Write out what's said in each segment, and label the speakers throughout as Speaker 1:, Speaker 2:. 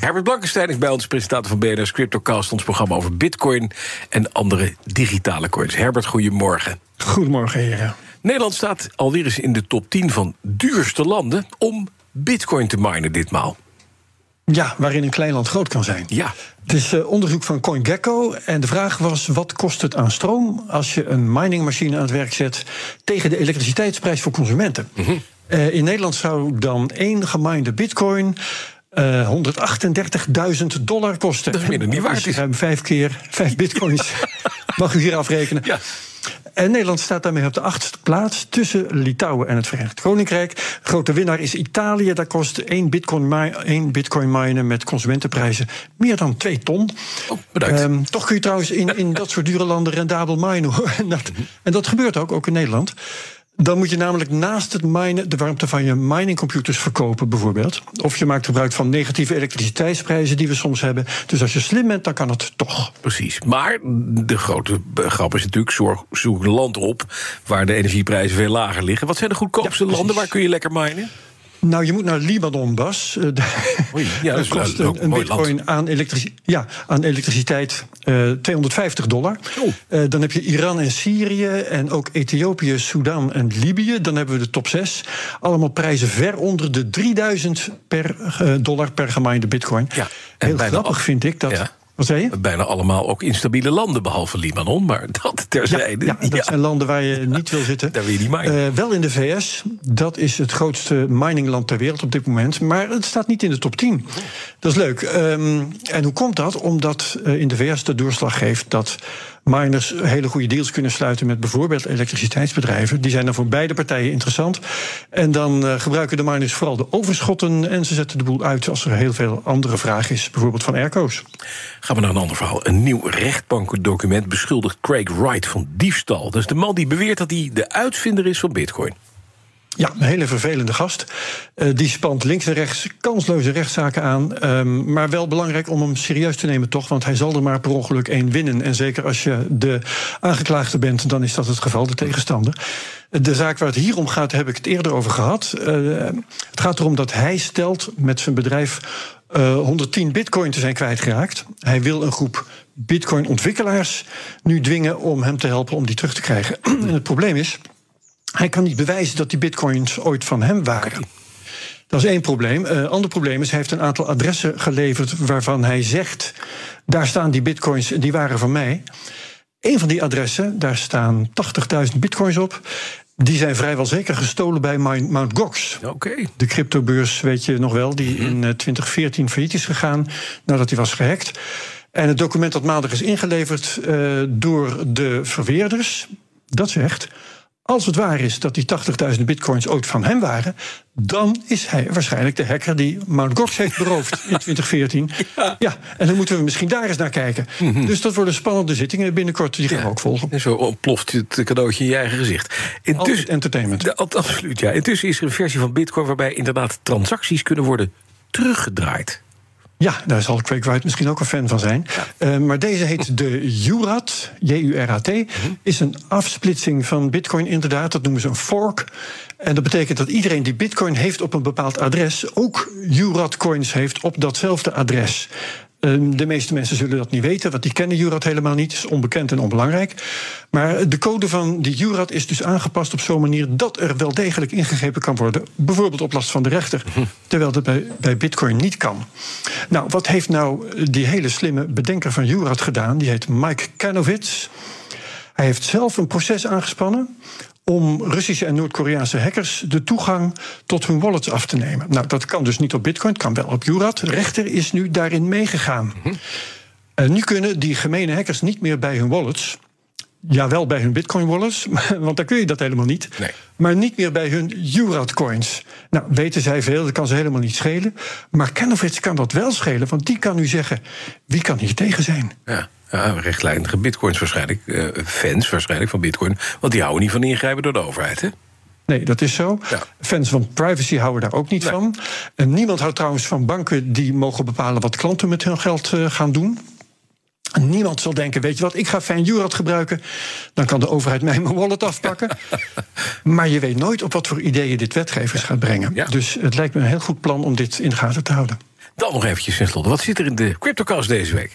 Speaker 1: Herbert Blankenstein is bij ons, presentator van BNR's CryptoCast... ons programma over bitcoin en andere digitale coins. Herbert, goedemorgen.
Speaker 2: Goedemorgen, heren.
Speaker 1: Nederland staat alweer eens in de top 10 van duurste landen... om bitcoin te minen ditmaal.
Speaker 2: Ja, waarin een klein land groot kan zijn.
Speaker 1: Ja.
Speaker 2: Het is eh, onderzoek van CoinGecko. En de vraag was: wat kost het aan stroom als je een miningmachine aan het werk zet tegen de elektriciteitsprijs voor consumenten?
Speaker 1: Mhm.
Speaker 2: Eh, in Nederland zou dan één geminde bitcoin. eh, 138.000 dollar kosten.
Speaker 1: Dat is meer dan die waard
Speaker 2: Dus
Speaker 1: is.
Speaker 2: Ruim vijf keer vijf bitcoins. Mag u hier afrekenen?
Speaker 1: Ja.
Speaker 2: En Nederland staat daarmee op de achtste plaats tussen Litouwen en het Verenigd Koninkrijk. Grote winnaar is Italië. Daar kost één bitcoin, mi- één bitcoin minen met consumentenprijzen meer dan 2 ton.
Speaker 1: Oh, bedankt.
Speaker 2: Ehm, toch kun je trouwens in, in dat soort dure landen rendabel minen. Hoor. En, dat,
Speaker 1: Mhm.
Speaker 2: en dat gebeurt ook, ook in Nederland. Dan moet je namelijk naast het minen de warmte van je miningcomputers verkopen, bijvoorbeeld. Of je maakt gebruik van negatieve elektriciteitsprijzen die we soms hebben. Dus als je slim bent, dan kan het toch.
Speaker 1: Precies. Maar de grote eh, grap is natuurlijk: zorg, zoek een land op waar de energieprijzen veel lager liggen. Wat zijn de goedkoopste
Speaker 2: Ja, precies.
Speaker 1: landen? Waar kun je lekker minen?
Speaker 2: Nou, je moet naar Libanon, Bas. Eh, daar-
Speaker 1: Oei, ja, dat is
Speaker 2: kost
Speaker 1: wel- ook
Speaker 2: een,
Speaker 1: een mooi
Speaker 2: bitcoin aan, elektrici- ja, aan elektriciteit eh, 250 dollar.
Speaker 1: Oh.
Speaker 2: Eh, dan heb je Iran en Syrië en ook Ethiopië, Soedan en Libië. Dan hebben we de top 6. Allemaal prijzen ver onder de 3000 per, eh, dollar per gemijnde bitcoin.
Speaker 1: Ja, en
Speaker 2: Heel
Speaker 1: bijna
Speaker 2: grappig
Speaker 1: al-
Speaker 2: vind ik dat.
Speaker 1: Ja.
Speaker 2: Wat zei je?
Speaker 1: Bijna allemaal ook instabiele landen, behalve Libanon. Maar dat terzijde.
Speaker 2: Ja, en dat
Speaker 1: Ja.
Speaker 2: zijn landen waar je niet wil zitten.
Speaker 1: Daar wil je niet minen.
Speaker 2: Eh, wel in de VS. Dat is het grootste miningland ter wereld op dit moment. Maar het staat niet in de top 10. Dat is leuk. Ehm, en hoe komt dat? Omdat eh, in de VS de doorslag geeft dat miners hele goede deals kunnen sluiten met bijvoorbeeld elektriciteitsbedrijven. Die zijn dan voor beide partijen interessant. En dan eh, gebruiken de miners vooral de overschotten en ze zetten de boel uit als er heel veel andere vraag is, bijvoorbeeld van airco's.
Speaker 1: Gaan we naar een ander verhaal. Een nieuw rechtbankdocument beschuldigt Craig Wright van diefstal. Dat is de man die beweert dat hij de uitvinder is van Bitcoin.
Speaker 2: Ja, een hele vervelende gast. Eh, die spant links en rechts kansloze rechtszaken aan. Ehm, maar wel belangrijk om hem serieus te nemen, toch? Want hij zal er maar per ongeluk één winnen. En zeker als je de aangeklaagde bent, dan is dat het geval, de tegenstander. De zaak waar het hier om gaat, heb ik het eerder over gehad. Eh, het gaat erom dat hij stelt met zijn bedrijf eh, 110 bitcoin te zijn kwijtgeraakt. Hij wil een groep bitcoin-ontwikkelaars nu dwingen om hem te helpen om die terug te krijgen. en het probleem is. Hij kan niet bewijzen dat die bitcoins ooit van hem waren. Dat is één probleem. Eh ander probleem is, hij heeft een aantal adressen geleverd waarvan hij zegt: daar staan die bitcoins, die waren van mij. Een van die adressen, daar staan 80.000 bitcoins op. Die zijn vrijwel zeker gestolen bij Mount Mount Gox.
Speaker 1: Oké.
Speaker 2: De cryptobeurs, weet je nog wel, die in eh, 2014 failliet is gegaan nadat hij was gehackt. En het document dat maandag is ingeleverd eh, door de verweerders, dat zegt. Als het waar is dat die 80.000 bitcoins ooit van hem waren, dan is hij waarschijnlijk de hacker die Mount Gox heeft beroofd in 2014. Ja. en dan moeten we misschien daar eens naar kijken. Dus dat worden spannende zittingen binnenkort, die gaan we ook volgen.
Speaker 1: En zo ontploft het cadeautje in je eigen gezicht.
Speaker 2: Altijd entertainment.
Speaker 1: Ja, ab- absoluut, ja. Intussen is er een versie van Bitcoin waarbij inderdaad transacties kunnen worden teruggedraaid.
Speaker 2: Ja, daar zal Craig Wright misschien ook een fan van zijn. Eh, maar deze heet de Jurat, J-U-R-A-T. Is een afsplitsing van Bitcoin, inderdaad. Dat noemen ze een fork. En dat betekent dat iedereen die Bitcoin heeft op een bepaald adres. ook Jurat-coins heeft op datzelfde adres. Eh, De meeste mensen zullen dat niet weten, want die kennen Jurat helemaal niet. is onbekend en onbelangrijk. Maar de code van die Jurat is dus aangepast op zo'n manier dat er wel degelijk ingegrepen kan worden. Bijvoorbeeld op last van de rechter. Terwijl dat bij, bij Bitcoin niet kan. Nou, wat heeft nou die hele slimme bedenker van Jurat gedaan? Die heet Mike Kanovitz. Hij heeft zelf een proces aangespannen om Russische en Noord-Koreaanse hackers de toegang tot hun wallets af te nemen. Nou, dat kan dus niet op Bitcoin, het kan wel op Jurat. De rechter is nu daarin meegegaan. En nu kunnen die gemene hackers niet meer bij hun wallets. Ja, wel bij hun Bitcoin-wallets, want daar kun je dat helemaal niet.
Speaker 1: Nee.
Speaker 2: Maar niet meer bij hun Jurat-coins. Nou, weten zij veel, dat kan ze helemaal niet schelen. Maar Kenofits kan dat wel schelen, want die kan nu zeggen... wie kan hier tegen zijn?
Speaker 1: Ja, ja, rechtlijnige bitcoins waarschijnlijk, eh, fans waarschijnlijk van bitcoin. Want die houden niet van ingrijpen door de overheid. Hè?
Speaker 2: Nee, dat is zo.
Speaker 1: Ja.
Speaker 2: Fans van privacy houden daar ook niet
Speaker 1: Nee.
Speaker 2: van. En niemand houdt trouwens van banken die mogen bepalen wat klanten met hun geld eh, gaan doen. Niemand zal denken, weet je wat, ik ga FanJurat gebruiken. Dan kan de overheid mij mijn wallet afpakken. maar je weet nooit op wat voor ideeën dit wetgevers gaat brengen.
Speaker 1: Ja.
Speaker 2: Dus het lijkt me een heel goed plan om dit in de gaten te houden.
Speaker 1: Dan nog eventjes in slot. Wat zit er in de CryptoCast deze week?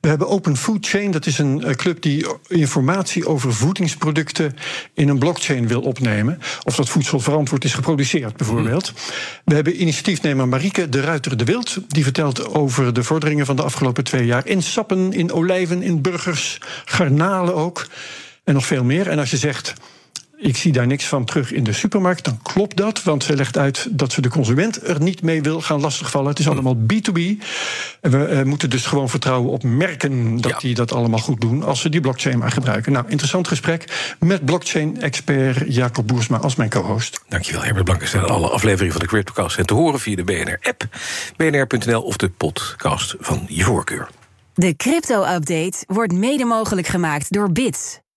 Speaker 2: We hebben Open Food Chain, dat is een eh, club die informatie over voedingsproducten in een blockchain wil opnemen. Of dat voedsel verantwoord is geproduceerd, bijvoorbeeld. We hebben initiatiefnemer Marieke de Ruiter de Wild, die vertelt over de vorderingen van de afgelopen twee jaar in sappen, in olijven, in burgers, garnalen ook. En nog veel meer. En als je zegt. Ik zie daar niks van terug in de supermarkt. Dan klopt dat, want ze legt uit dat ze de consument er niet mee wil gaan lastigvallen. Het is allemaal B2B. En we eh, moeten dus gewoon vertrouwen op merken dat
Speaker 1: Ja.
Speaker 2: die dat allemaal goed doen als ze die blockchain maar gebruiken. Nou, interessant gesprek met blockchain-expert Jacob Boersma als mijn co-host.
Speaker 1: Dankjewel, Herbert Blankenstein. Alle afleveringen van de CryptoCast zijn te horen via de BNR-app, bnr.nl of de podcast van je voorkeur.
Speaker 3: De crypto-update wordt mede mogelijk gemaakt door Bits,